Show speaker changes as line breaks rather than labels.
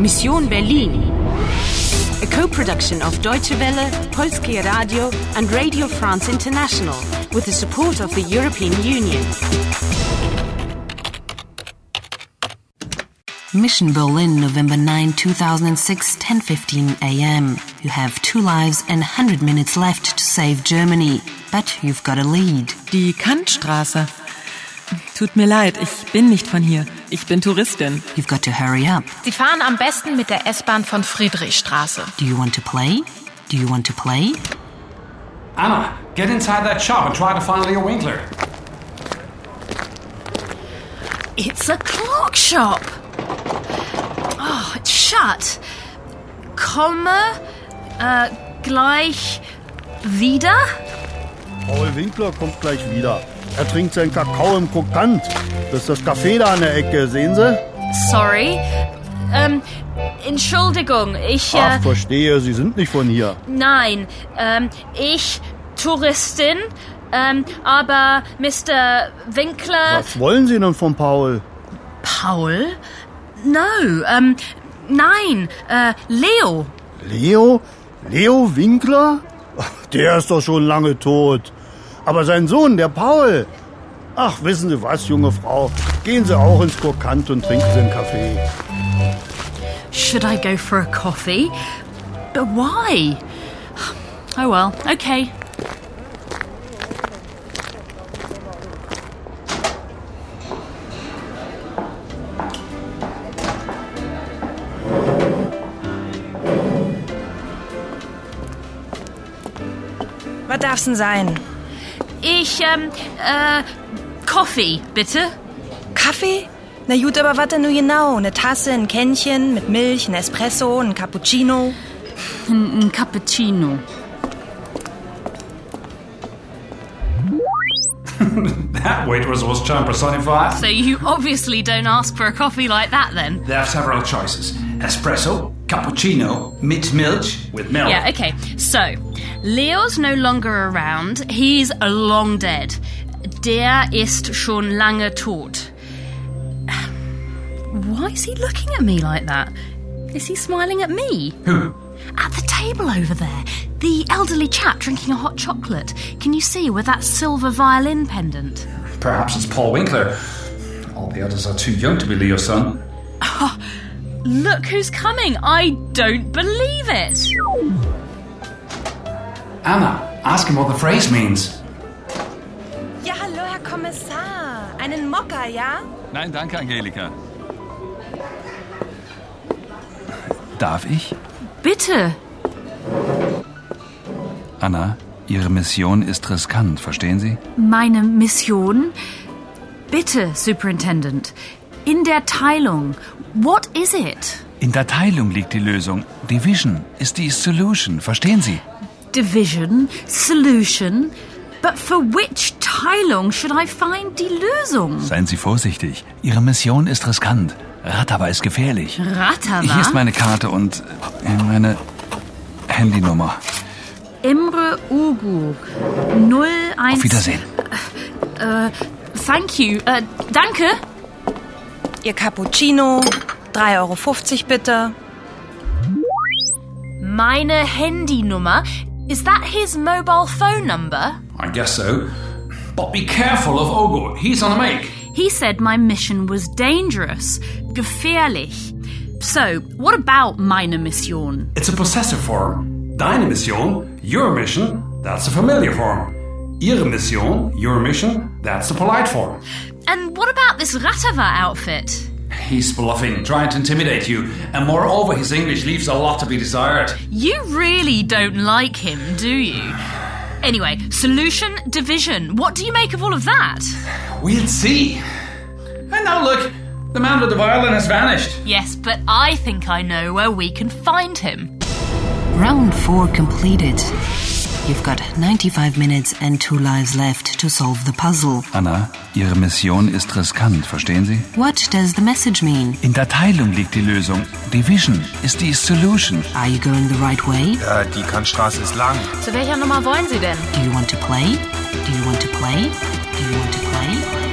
Mission Berlin. A co-production of Deutsche Welle, Polskie Radio and Radio France International with the support of the European Union.
Mission Berlin, November 9, 2006, 10:15 a.m. You have two lives and 100 minutes left to save Germany, but you've got a lead.
Die Kantstraße. Tut mir leid, ich bin nicht von hier. Ich bin Touristin.
You've got to hurry up.
Sie fahren am besten mit der S-Bahn von Friedrichstraße.
Do you want to play? Do you want to play?
Anna, get inside that shop and try to find Leo Winkler.
It's a clock shop. Oh, it's shut. Komme äh, gleich wieder.
Paul Winkler kommt gleich wieder. Er trinkt seinen Kakao im Krokant. Das ist das Café da an der Ecke, sehen Sie?
Sorry. Ähm, Entschuldigung, ich. Äh,
Ach, verstehe, Sie sind nicht von hier.
nein, ähm, ich Touristin. Ähm, aber Mr. Winkler.
Was wollen Sie denn von Paul?
Paul? No, ähm, nein, äh, Leo.
Leo? Leo Winkler? Ach, Der ist doch schon lange tot. Aber sein Sohn, der Paul. Ach, wissen Sie was, junge Frau? Gehen Sie auch ins Krokant und trinken Sie einen Kaffee.
Should I go for a coffee? But why? Oh well, okay.
Was darf's denn sein?
Ich, ähm, äh, Coffee, bitte.
Kaffee? Na gut, aber was denn nun genau? Eine Tasse, ein Kännchen mit Milch, ein Espresso, ein Cappuccino?
Ein Cappuccino.
That waitress was charm personified.
So you obviously don't ask for a coffee like that then.
They have several choices espresso, cappuccino, mixed milk with milk.
Yeah, okay. So, Leo's no longer around. He's long dead. Der ist schon lange tot. Why is he looking at me like that? Is he smiling at me?
Who?
At the table over there, the elderly chap drinking a hot chocolate. Can you see with that silver violin pendant?
Perhaps it's Paul Winkler. All the others are too young to be Leo's son.
Look who's coming! I don't believe it!
Anna, ask him what the phrase means.
Ja, hallo, Herr Kommissar. Einen Mokka, ja?
Nein, danke, Angelika. Darf ich?
Bitte!
Anna, Ihre Mission ist riskant, verstehen Sie?
Meine Mission? Bitte, Superintendent. In der Teilung. What is it?
In der Teilung liegt die Lösung. Division ist die Solution, verstehen Sie?
Division? Solution? But for which Teilung should I find die Lösung?
Seien Sie vorsichtig. Ihre Mission ist riskant. Rattaba ist gefährlich. Hier ist
Ratava?
meine Karte und äh, meine Handynummer.
Imre Ugu. 01.
Auf Wiedersehen.
Uh,
Thank you. Äh, danke.
Ihr Cappuccino, 3,50 Euro bitte.
Meine Handynummer? Is that his mobile phone number?
I guess so. But be careful of Ogo. He's on a make.
He said my mission was dangerous. Gefährlich. So, what about meine Mission?
It's a possessive form. Deine Mission, your mission, that's a familiar form. Ihre Mission, your mission, that's the polite form.
And what about this Ratava outfit?
He's bluffing, trying to intimidate you, and moreover, his English leaves a lot to be desired.
You really don't like him, do you? Anyway, solution, division. What do you make of all of that?
We'll see. And now look, the man with the violin has vanished.
Yes, but I think I know where we can find him.
Round 4 completed. You've got 95 minutes and two lives left to solve the puzzle.
Anna, Ihre Mission ist riskant, verstehen Sie?
What does the message mean?
In der Teilung liegt die Lösung. Division ist die Solution.
Are you going the right way?
Äh, die Kantstraße ist lang.
Zu welcher Nummer wollen Sie denn?
Do you want to play? Do you want to play? Do you want to play?